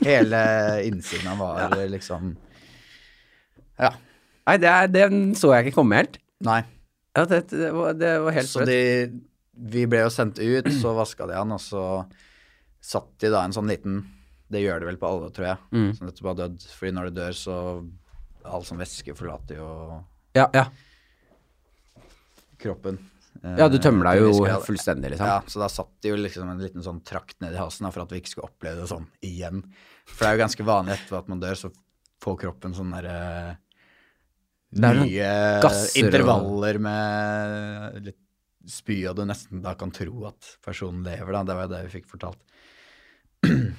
Speaker 2: hele innsiden han var liksom Ja.
Speaker 1: Nei, det er, den så jeg ikke komme helt.
Speaker 2: Nei.
Speaker 1: Ja, det, det, var, det var helt
Speaker 2: Så
Speaker 1: sprøtt.
Speaker 2: de, vi ble jo sendt ut, så vaska de han, og så satt de da en sånn liten Det gjør det vel på alle, tror jeg, Sånn
Speaker 1: Mm.
Speaker 2: som nettopp har dødd. Fordi når du dør, så All sånn væske forlater jo
Speaker 1: Ja, ja.
Speaker 2: kroppen. eh,
Speaker 1: ja, du tømmer
Speaker 2: til
Speaker 1: deg
Speaker 2: en
Speaker 1: jo
Speaker 2: viss grad.
Speaker 1: fullstendig, liksom.
Speaker 2: Ja, så da satt det jo liksom en liten sånn trakt ned i halsen da, for at vi ikke skulle oppleve det sånn igjen. For det er jo ganske vanlig etterpå at man dør, så får kroppen sånn derre
Speaker 1: er noen
Speaker 2: Nye
Speaker 1: gasser og-
Speaker 2: intervaller med litt spy, og du nesten da kan tro at personen lever, da. Det var jo det vi fikk fortalt.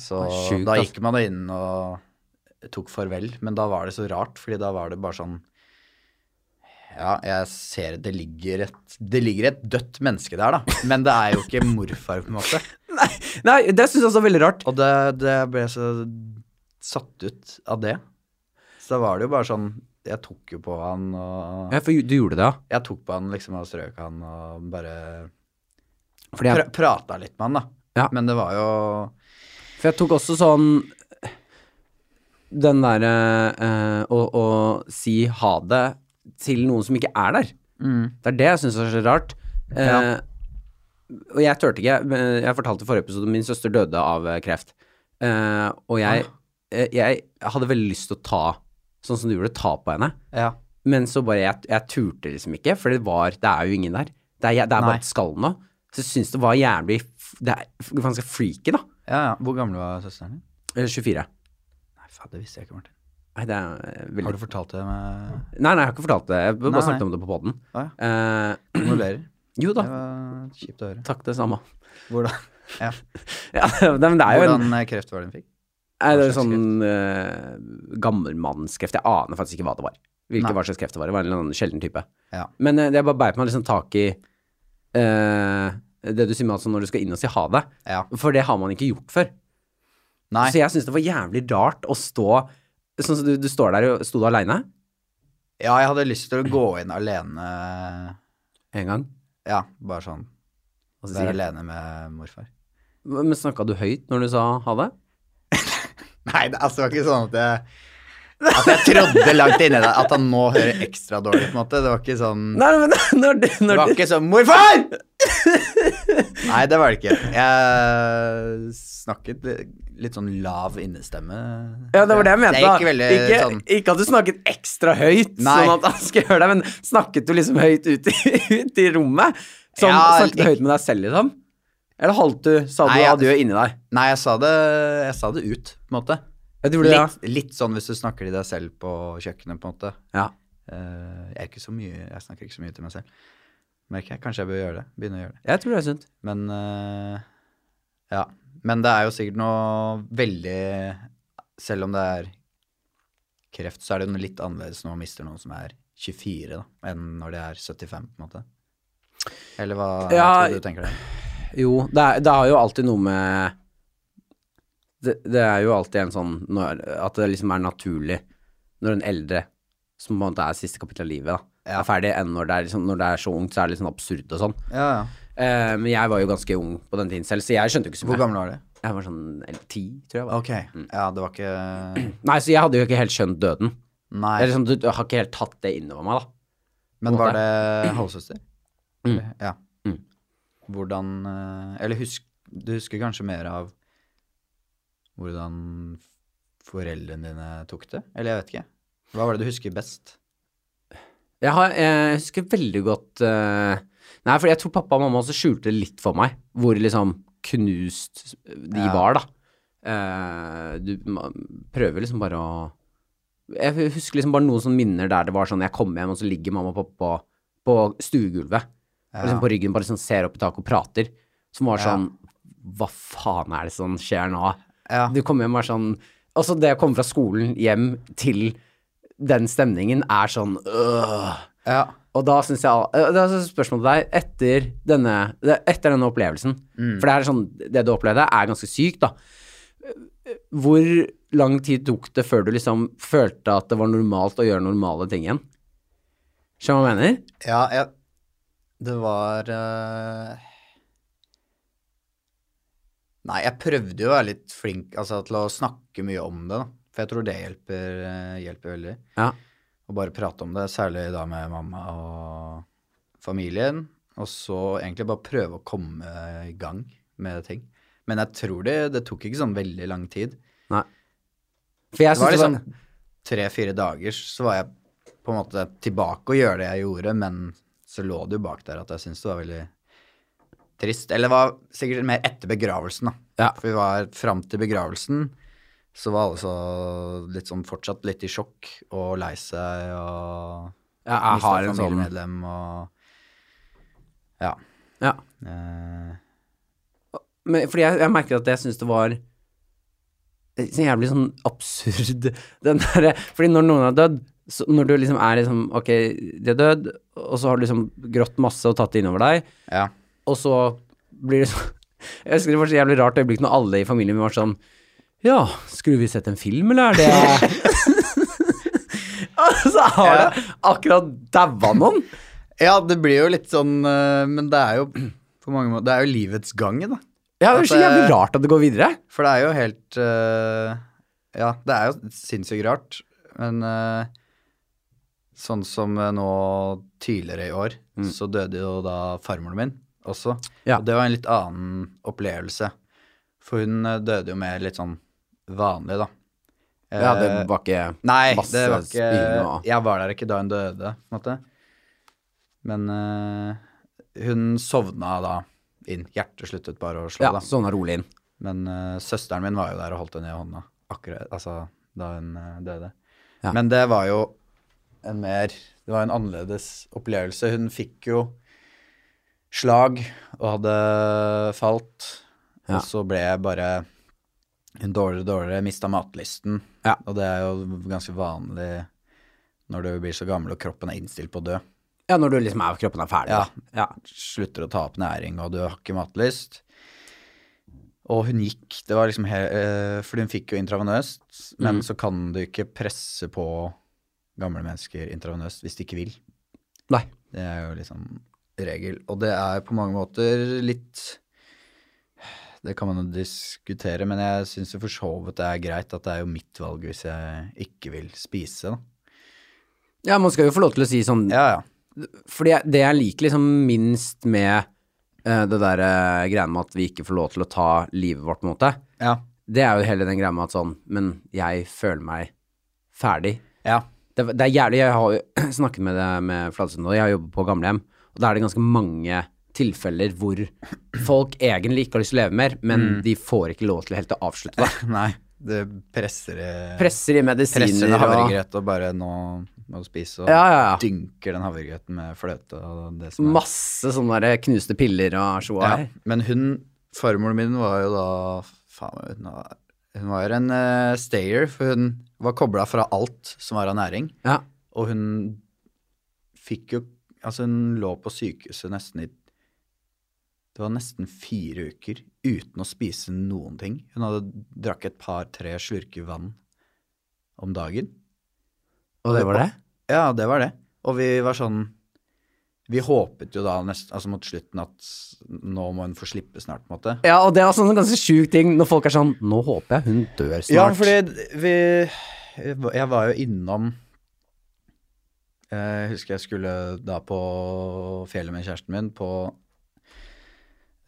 Speaker 2: Så
Speaker 1: Det er sjukt,
Speaker 2: da
Speaker 1: ass.
Speaker 2: gikk man da inn og tok farvel, men da var det så rart, fordi da var det bare sånn ja, jeg ser det ligger et Det ligger et dødt menneske der, da. Men det er jo ikke morfar, på en måte.
Speaker 1: Nei, det syns jeg også er veldig rart.
Speaker 2: Og det, det ble jeg så satt ut av det. Så da var det jo bare sånn Jeg tok jo på han, og
Speaker 1: Ja, for du gjorde det, ja.
Speaker 2: Jeg tok på han liksom og strøk han og bare
Speaker 1: Fordi jeg,
Speaker 2: pra prata litt med han, da.
Speaker 1: Ja.
Speaker 2: Men det var jo
Speaker 1: for jeg tok også sånn Den derre eh, å, å si ha det til noen som ikke er der.
Speaker 2: mm,
Speaker 1: Det er det jeg syns er så rart. Eh,
Speaker 2: Ja.
Speaker 1: Og jeg turte ikke. men Jeg fortalte i forrige episode min søster døde av eh, kreft. Eh, og jeg,
Speaker 2: Ah.
Speaker 1: eh, jeg hadde veldig lyst til å ta, sånn som du gjorde, ta på henne.
Speaker 2: Ja.
Speaker 1: Men så bare, jeg, jeg turte liksom ikke, for det var, det er jo ingen der. Det er, det er
Speaker 2: Nei.
Speaker 1: bare et skall nå. Så jeg synes det var jævlig, f- det er f- ganske freaky da.
Speaker 2: ja, ja. Hvor gammel var søsteren din?
Speaker 1: Eh, 24.
Speaker 2: Nei, faen, det visste jeg ikke, Martin.
Speaker 1: Nei, det er eh, veldig...
Speaker 2: Har du fortalt det med
Speaker 1: Nei, nei, jeg har ikke fortalt det. Jeg har
Speaker 2: Nei,
Speaker 1: bare snakket
Speaker 2: nei.
Speaker 1: om det på podden.
Speaker 2: Å,
Speaker 1: Eh,
Speaker 2: Kondolerer.
Speaker 1: jo da,
Speaker 2: Mm. Det var kjipt å høre.
Speaker 1: takk det samme.
Speaker 2: Hvordan, ja.
Speaker 1: Ja, men det er jo en...
Speaker 2: Hvordan eh, kreft var det hun fikk?
Speaker 1: Nei, det er
Speaker 2: Hva slags
Speaker 1: sånn uh, gammelmannskreft. Jeg aner faktisk ikke hva det var. Hvilken
Speaker 2: Nei.
Speaker 1: hva slags kreft det var. Det var en eller annen sjelden type.
Speaker 2: Ja.
Speaker 1: Men eh, det bare beit meg liksom tak i eh, det du sier med altså når du skal inn og si ha det.
Speaker 2: Ja.
Speaker 1: For det har man ikke gjort før.
Speaker 2: Nei.
Speaker 1: Så jeg syns det var jævlig rart å stå Sånn som du, du står der og sto du aleine
Speaker 2: Ja, jeg hadde lyst til å gå inn alene
Speaker 1: en gang.
Speaker 2: Ja, bare sånn.
Speaker 1: og så
Speaker 2: Være
Speaker 1: sier jeg,
Speaker 2: alene med morfar.
Speaker 1: Men snakka du høyt når du sa ha det?
Speaker 2: Nei, det, altså, det var ikke sånn at jeg At jeg trodde langt inni deg at han nå hører ekstra dårlig, på en måte. Det var ikke sånn
Speaker 1: Nei, men når du,
Speaker 2: Det
Speaker 1: når
Speaker 2: var
Speaker 1: du
Speaker 2: ikke sånn Morfar! Nei, det var det ikke. Jeg snakket li- litt sånn lav innestemme.
Speaker 1: ja, det var det jeg mente.
Speaker 2: Jeg
Speaker 1: da.
Speaker 2: gikk veldig
Speaker 1: ikke,
Speaker 2: sånn
Speaker 1: ikke at du snakket ekstra høyt,
Speaker 2: Nei.
Speaker 1: sånn at han skulle høre deg, men snakket du liksom høyt ut i, ut i rommet? Sånn,
Speaker 2: Ja,
Speaker 1: snakket du
Speaker 2: ikke-
Speaker 1: høyt med deg selv, liksom? Eller holdt du Sa du
Speaker 2: Nei, jeg-
Speaker 1: adjø inni deg?
Speaker 2: Nei, jeg sa det, jeg sa det ut, på en måte.
Speaker 1: Jeg tror det, ja.
Speaker 2: Litt, litt sånn hvis du snakker til deg selv på kjøkkenet, på en måte.
Speaker 1: ja.
Speaker 2: Eh, jeg, er ikke så mye, jeg snakker ikke så mye til meg selv. Merker jeg. Kanskje jeg bør gjøre det. Begynne å gjøre det.
Speaker 1: Jeg tror det er sunt.
Speaker 2: Men eh, ja. Men det er jo sikkert noe veldig Selv om det er kreft, så er det jo noe litt annerledes når man mister noen som er 24, da, enn når de er 75, på en måte. Eller hva
Speaker 1: Ja,
Speaker 2: tror du tenker det?
Speaker 1: Jo, det, er, det har jo alltid noe med det, det er jo alltid en sånn når, At det liksom er naturlig når en eldre, som på en måte er siste kapittel av livet, da,
Speaker 2: Ja.
Speaker 1: er ferdig, enn når det er, liksom, når det er så ungt, så er det litt sånn liksom absurd og sånn.
Speaker 2: Ja, ja.
Speaker 1: Eh, men jeg var jo ganske ung på den tiden selv, så jeg skjønte jo ikke så
Speaker 2: Hvor
Speaker 1: mye.
Speaker 2: gammel var du?
Speaker 1: Jeg var sånn eller, ti, tror jeg. Var.
Speaker 2: Ok. Ja, det var ikke
Speaker 1: Nei, så jeg hadde jo ikke helt skjønt døden.
Speaker 2: Nei.
Speaker 1: Eller sånn, du, du har ikke helt tatt det innover meg, da.
Speaker 2: Men var det halvsøster?
Speaker 1: Mm.
Speaker 2: Ja.
Speaker 1: Mm.
Speaker 2: Hvordan eh, Eller husk, du husker kanskje mer av hvordan foreldrene dine tok det? Eller jeg vet ikke. Hva var det du husker best?
Speaker 1: Jeg, har, eh, jeg husker veldig godt eh, Nei, for jeg tror pappa og mamma også skjulte det litt for meg, hvor liksom knust de
Speaker 2: Ja.
Speaker 1: var, da. Eh, du ma- prøver liksom bare å Jeg husker liksom bare noen sånne minner der det var sånn Jeg kommer hjem, og så ligger mamma og pappa på stuegulvet. og Liksom på ryggen, bare sånn ser opp i taket og prater. Som var
Speaker 2: Ja.
Speaker 1: sånn Hva faen er det som skjer nå?
Speaker 2: Ja.
Speaker 1: Du kommer hjem og er sånn Altså, det å komme fra skolen hjem til den stemningen er sånn øh.
Speaker 2: ja.
Speaker 1: Og da syns jeg øh, Det er altså spørsmålet til deg etter denne, det- etter denne opplevelsen.
Speaker 2: Mm.
Speaker 1: For det er sånn Det du opplevde, er ganske sykt, da. Hvor lang tid tok det før du liksom følte at det var normalt å gjøre normale ting igjen? Skjønner du hva jeg mener?
Speaker 2: Ja, jeg Det var eh, Nei, jeg prøvde jo å være litt flink altså, til å snakke mye om det, da. For jeg tror det hjelper, eh, hjelper veldig.
Speaker 1: Ja.
Speaker 2: Å bare prate om det, særlig da med mamma og familien. Og så egentlig bare prøve å komme i gang med ting. Men jeg tror det, det tok ikke sånn veldig lang tid.
Speaker 1: Nei. For jeg
Speaker 2: Det var
Speaker 1: syns
Speaker 2: liksom tre-fire dager, så var jeg på en måte tilbake og gjøre det jeg gjorde, men så lå det jo bak der at jeg syntes det var veldig trist. Eller det var sikkert mer etter begravelsen, da.
Speaker 1: Ja.
Speaker 2: For vi var fram til begravelsen, så var alle så litt sånn fortsatt litt i sjokk og lei seg og
Speaker 1: Ja, jeg
Speaker 2: mista
Speaker 1: har en sånn
Speaker 2: familiemedlem og Ja.
Speaker 1: ja.
Speaker 2: Eh,
Speaker 1: Men, fordi jeg, jeg merker at jeg syns det var så jævlig sånn absurd den derre Fordi når noen er dødd, så når du liksom er liksom Ok, de er dødd, og så har du liksom grått masse og tatt det innover deg,
Speaker 2: ja.
Speaker 1: og så blir det sånn Jeg husker det var så jævlig rart øyeblikk når alle i familien min var sånn Ja, skulle vi sett en film, eller er det Altså, har
Speaker 2: Ja.
Speaker 1: det akkurat daua noen?
Speaker 2: ja, det blir jo litt sånn eh, Men det er jo på mange måter Det er jo livets gang, da.
Speaker 1: Ja, det er så
Speaker 2: At, eh,
Speaker 1: jævlig rart at det går videre.
Speaker 2: For det er jo helt øh, Ja, det er jo sinnssykt rart. Men øh, sånn som øh, nå tidligere i år, så døde jo da farmoren min også.
Speaker 1: Mm. Ja.
Speaker 2: Og det var en litt annen opplevelse. For hun øh, døde jo mer litt sånn vanlig, da.
Speaker 1: Ja, det
Speaker 2: Eh,
Speaker 1: var ikke
Speaker 2: Nei,
Speaker 1: masse
Speaker 2: det var ikke
Speaker 1: spying og-
Speaker 2: Jeg var der ikke da hun døde, på en måte. Men øh, hun sovna da inn. Hjertet sluttet bare å slå,
Speaker 1: Ja,
Speaker 2: da.
Speaker 1: sånn rolig inn.
Speaker 2: Men eh, søsteren min var jo der og holdt henne i hånda akkurat altså, da hun eh, døde.
Speaker 1: Ja.
Speaker 2: Men det var jo en mer Det var en annerledes opplevelse. Hun fikk jo slag og hadde falt.
Speaker 1: Ja.
Speaker 2: Og så ble jeg bare hun dårligere og dårligere, mista matlysten.
Speaker 1: Ja.
Speaker 2: Og det er jo ganske vanlig når du blir så gammel og kroppen er innstilt på å dø.
Speaker 1: Ja, når du liksom er, kroppen er ferdig.
Speaker 2: Ja.
Speaker 1: da. ja.
Speaker 2: slutter å ta opp næring, og du har ikke matlyst. Og hun gikk, det var liksom he eh, fordi hun fikk jo intravenøst, men så kan du ikke presse på gamle mennesker intravenøst hvis de ikke vil.
Speaker 1: Nei.
Speaker 2: Det er jo liksom regel. Og det er på mange måter litt Det kan man jo diskutere, men jeg syns jo for så vidt det er greit at det er jo mitt valg hvis jeg ikke vil spise, da.
Speaker 1: Ja, man skal jo få lov til å si sånn
Speaker 2: Ja, ja.
Speaker 1: Fordi jeg- det jeg liker liksom minst med eh, det der eh, greiene med at vi ikke får lov til å ta livet vårt, på en måte,
Speaker 2: Ja.
Speaker 1: det er jo hele den greia med at sånn Men jeg føler meg ferdig.
Speaker 2: ja.
Speaker 1: Det, det er jævlig Jeg har jo snakket med det med Fladseth nå, jeg har jobbet på gamlehjem, og da er det ganske mange tilfeller hvor folk egentlig ikke har lyst til å leve mer, men
Speaker 2: Mm.
Speaker 1: de får ikke lov til helt å avslutte det.
Speaker 2: Nei, det presser eh,
Speaker 1: Presser i
Speaker 2: presser
Speaker 1: medisiner
Speaker 2: en
Speaker 1: og
Speaker 2: havregrøt og bare nå må du spise, og
Speaker 1: Ja, ja, ja.
Speaker 2: dynker den havregrøten med fløte og det som er.
Speaker 1: Masse sånne der knuste piller og sjoa
Speaker 2: Ja.
Speaker 1: her.
Speaker 2: Men hun, farmoren min var jo da, faen, hun var, hun var en eh, stayer, for hun var koblet fra alt som var av næring,
Speaker 1: Ja.
Speaker 2: og hun fikk jo, altså hun lå på sykehuset nesten i, det var nesten fire uker uten å spise noen ting. Hun hadde drakk et par-tre slurker vann om dagen.
Speaker 1: Og det var det?
Speaker 2: Ja, det var det. Og vi var sånn Vi håpet jo da nest, altså mot slutten at s- nå må hun få slippe snart, på en måte.
Speaker 1: Ja, og det er også en ganske sjuk ting når folk er sånn Nå håper jeg hun dør snart.
Speaker 2: Ja, fordi vi Jeg var jo innom Jeg husker jeg skulle da på fjellet med kjæresten min på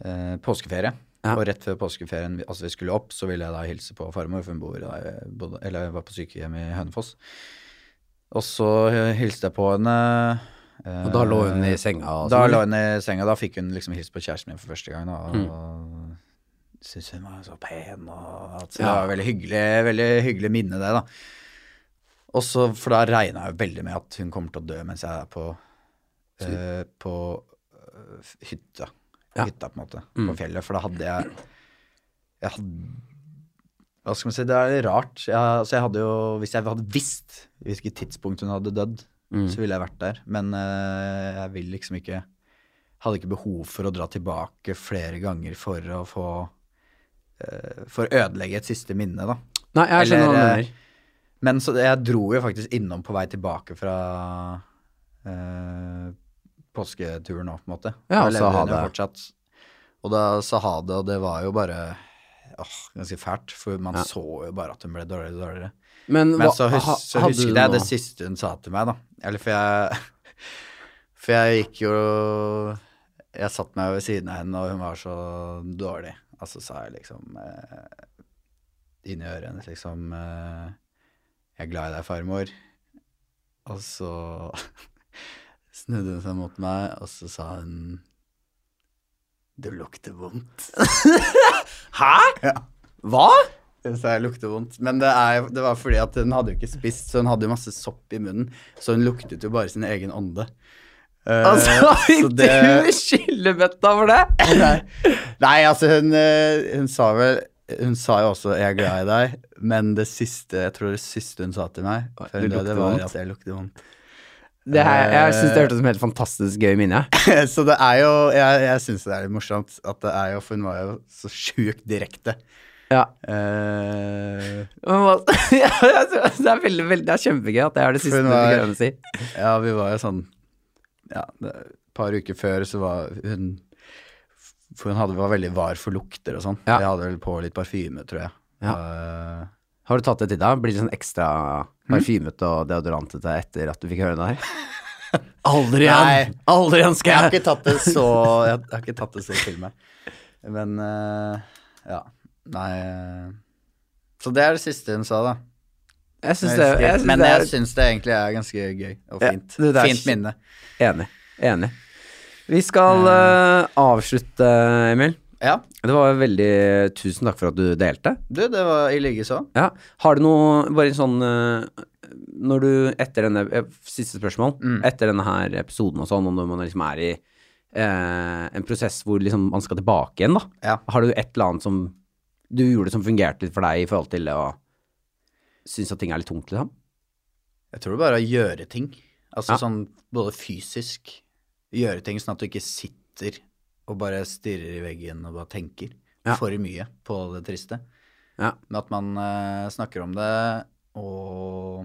Speaker 2: eh, påskeferie.
Speaker 1: Ja.
Speaker 2: Og rett før påskeferien, vi- altså vi skulle opp, så ville jeg da hilse på farmor, for hun bor der, bodde, eller var på sykehjem i Hønefoss. Og så eh, hilste jeg på henne. eh,
Speaker 1: Og da lå hun i senga og
Speaker 2: da
Speaker 1: sånn. Mm.
Speaker 2: lå hun i senga, da fikk hun liksom hilst på kjæresten min for første gang. Da, og syntes hun var så pen. Og at, så Det
Speaker 1: Ja.
Speaker 2: var veldig hyggelig, veldig hyggelig minne, det, da. Og så, For da regna jeg jo veldig med at hun kommer til å dø mens jeg er på, eh, på eh, f- hytta.
Speaker 1: Ja. Mm.
Speaker 2: Hytta, på en måte. På fjellet. For da hadde jeg Jeg hadde hva skal man si, det er litt rart. Jeg, altså jeg hadde jo, hvis jeg hadde visst hvilket tidspunkt hun hadde dødd, så ville jeg vært der. Men eh, jeg vil liksom ikke Hadde ikke behov for å dra tilbake flere ganger for å få eh, For å ødelegge et siste minne, da.
Speaker 1: Nei, jeg skjønner hva du
Speaker 2: Eller,
Speaker 1: mener.
Speaker 2: Men så jeg dro jo faktisk innom på vei tilbake fra eh, påsketuren nå, på en måte.
Speaker 1: Ja,
Speaker 2: Da
Speaker 1: og sa
Speaker 2: levde
Speaker 1: ha
Speaker 2: hun jo
Speaker 1: det.
Speaker 2: Fortsatt. Og da sa ha det, og det var jo bare åh, ganske fælt. For man så jo bare at hun ble dårligere og dårligere.
Speaker 1: Men,
Speaker 2: Men
Speaker 1: hva-
Speaker 2: så, hus
Speaker 1: ha-
Speaker 2: så
Speaker 1: hadde
Speaker 2: husket
Speaker 1: du
Speaker 2: jeg
Speaker 1: noe-
Speaker 2: det siste hun sa til meg, da. Eller for jeg For jeg gikk jo Jeg satt meg ved siden av henne, og hun var så dårlig. Og så sa jeg liksom eh, inni øret hennes liksom eh, Jeg er glad i deg, farmor. Og så snudde hun seg mot meg, og så sa hun Du lukter vondt.
Speaker 1: Hæ?!
Speaker 2: Ja.
Speaker 1: Hva?!
Speaker 2: Jeg sa jeg lukter vondt, men det, er, jo- det var fordi at hun hadde jo ikke spist, så hun hadde jo masse sopp i munnen, så hun luktet jo bare sin egen ånde. Eh,
Speaker 1: Altså,
Speaker 2: så
Speaker 1: fikk
Speaker 2: det-
Speaker 1: du skyllebøtta for det?!
Speaker 2: Nei, nei, altså hun, eh, hun sa vel Hun sa jo også 'jeg er glad i deg', men det siste jeg tror det siste hun sa til meg, før hun
Speaker 1: Du lukter
Speaker 2: døde, var
Speaker 1: vondt.
Speaker 2: at jeg lukter vondt.
Speaker 1: det her, jeg syns
Speaker 2: Eh.
Speaker 1: det hørtes som et helt fantastisk gøy minne.
Speaker 2: så det er jo Jeg, jeg syns det er litt morsomt at det er jo For hun var jo så sjukt direkte.
Speaker 1: Ja.
Speaker 2: Eh,
Speaker 1: Men hva, ja, jeg synes det, er veldig, veldig, det er kjempegøy at det er det siste
Speaker 2: For
Speaker 1: du
Speaker 2: nå er-
Speaker 1: fikk høre å si.
Speaker 2: Ja, vi var jo sånn Ja, det, et par uker før så var hun For hun hadde, var veldig var for lukter og sånn.
Speaker 1: Ja.
Speaker 2: Jeg hadde vel på litt parfyme, tror jeg. Eh,
Speaker 1: Har du tatt det til deg? Blir det sånn ekstra
Speaker 2: Hmm?
Speaker 1: parfymete og deodorantete etter at du fikk høre det her? Aldri
Speaker 2: Nei.
Speaker 1: igjen! Aldri igjen
Speaker 2: jeg har
Speaker 1: skal jeg!
Speaker 2: ikke tatt det så Jeg har ikke tatt det så til meg. Men eh, ja. Nei eh, Så det er det siste hun sa, da.
Speaker 1: Jeg syns det, jeg synes
Speaker 2: Men
Speaker 1: det
Speaker 2: jeg
Speaker 1: er
Speaker 2: syns det egentlig er ganske gøy og
Speaker 1: Ja,
Speaker 2: fint.
Speaker 1: det der-
Speaker 2: fint minne.
Speaker 1: Enig. Enig. Vi skal eh, avslutte, Emil.
Speaker 2: Ja.
Speaker 1: Det var veldig Tusen takk for at du delte.
Speaker 2: Du, det var i like så.
Speaker 1: Ja. Har du noe Bare en sånn eh, Når du etter denne eh, Siste spørsmål.
Speaker 2: Mm.
Speaker 1: Etter denne her episoden og sånn, og når man liksom er i eh, en prosess hvor liksom man skal tilbake igjen, da.
Speaker 2: Ja.
Speaker 1: Har du et eller annet som du gjorde som fungerte litt for deg i forhold til å synes at ting er litt tungt, liksom?
Speaker 2: Jeg tror det bare er å gjøre ting. Altså
Speaker 1: Ja.
Speaker 2: sånn både fysisk Gjøre ting sånn at du ikke sitter og bare stirrer i veggen og bare tenker
Speaker 1: Ja.
Speaker 2: for mye på det triste.
Speaker 1: Ja.
Speaker 2: Men at man eh, snakker om det og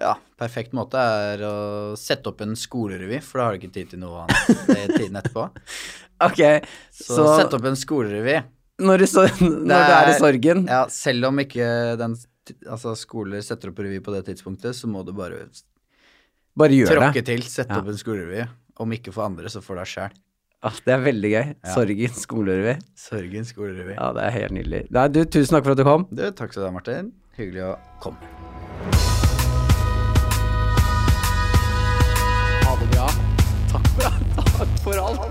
Speaker 2: Ja, perfekt måte er å sette opp en skolerevy, for da har du ikke tid til noe annet i tiden etterpå.
Speaker 1: Ok,
Speaker 2: Så, sett opp en skolerevy.
Speaker 1: når, du er i sorgen
Speaker 2: Ja, selv om ikke den, altså skoler setter opp revy på det tidspunktet, så må du bare
Speaker 1: Bare gjør
Speaker 2: Tråkke
Speaker 1: det.
Speaker 2: til, sette
Speaker 1: Ja.
Speaker 2: opp en skolerevy. Om ikke for andre, så for deg sjæl.
Speaker 1: Ah, det er veldig gøy. Sorgen skolerevy.
Speaker 2: Sørgen skolerevy.
Speaker 1: Ja, det er helt nydelig. Nei, du, tusen takk for at du kom.
Speaker 2: Du, takk skal du ha, Martin. Hyggelig å komme.
Speaker 1: Ha det bra. Takk for, takk for alt.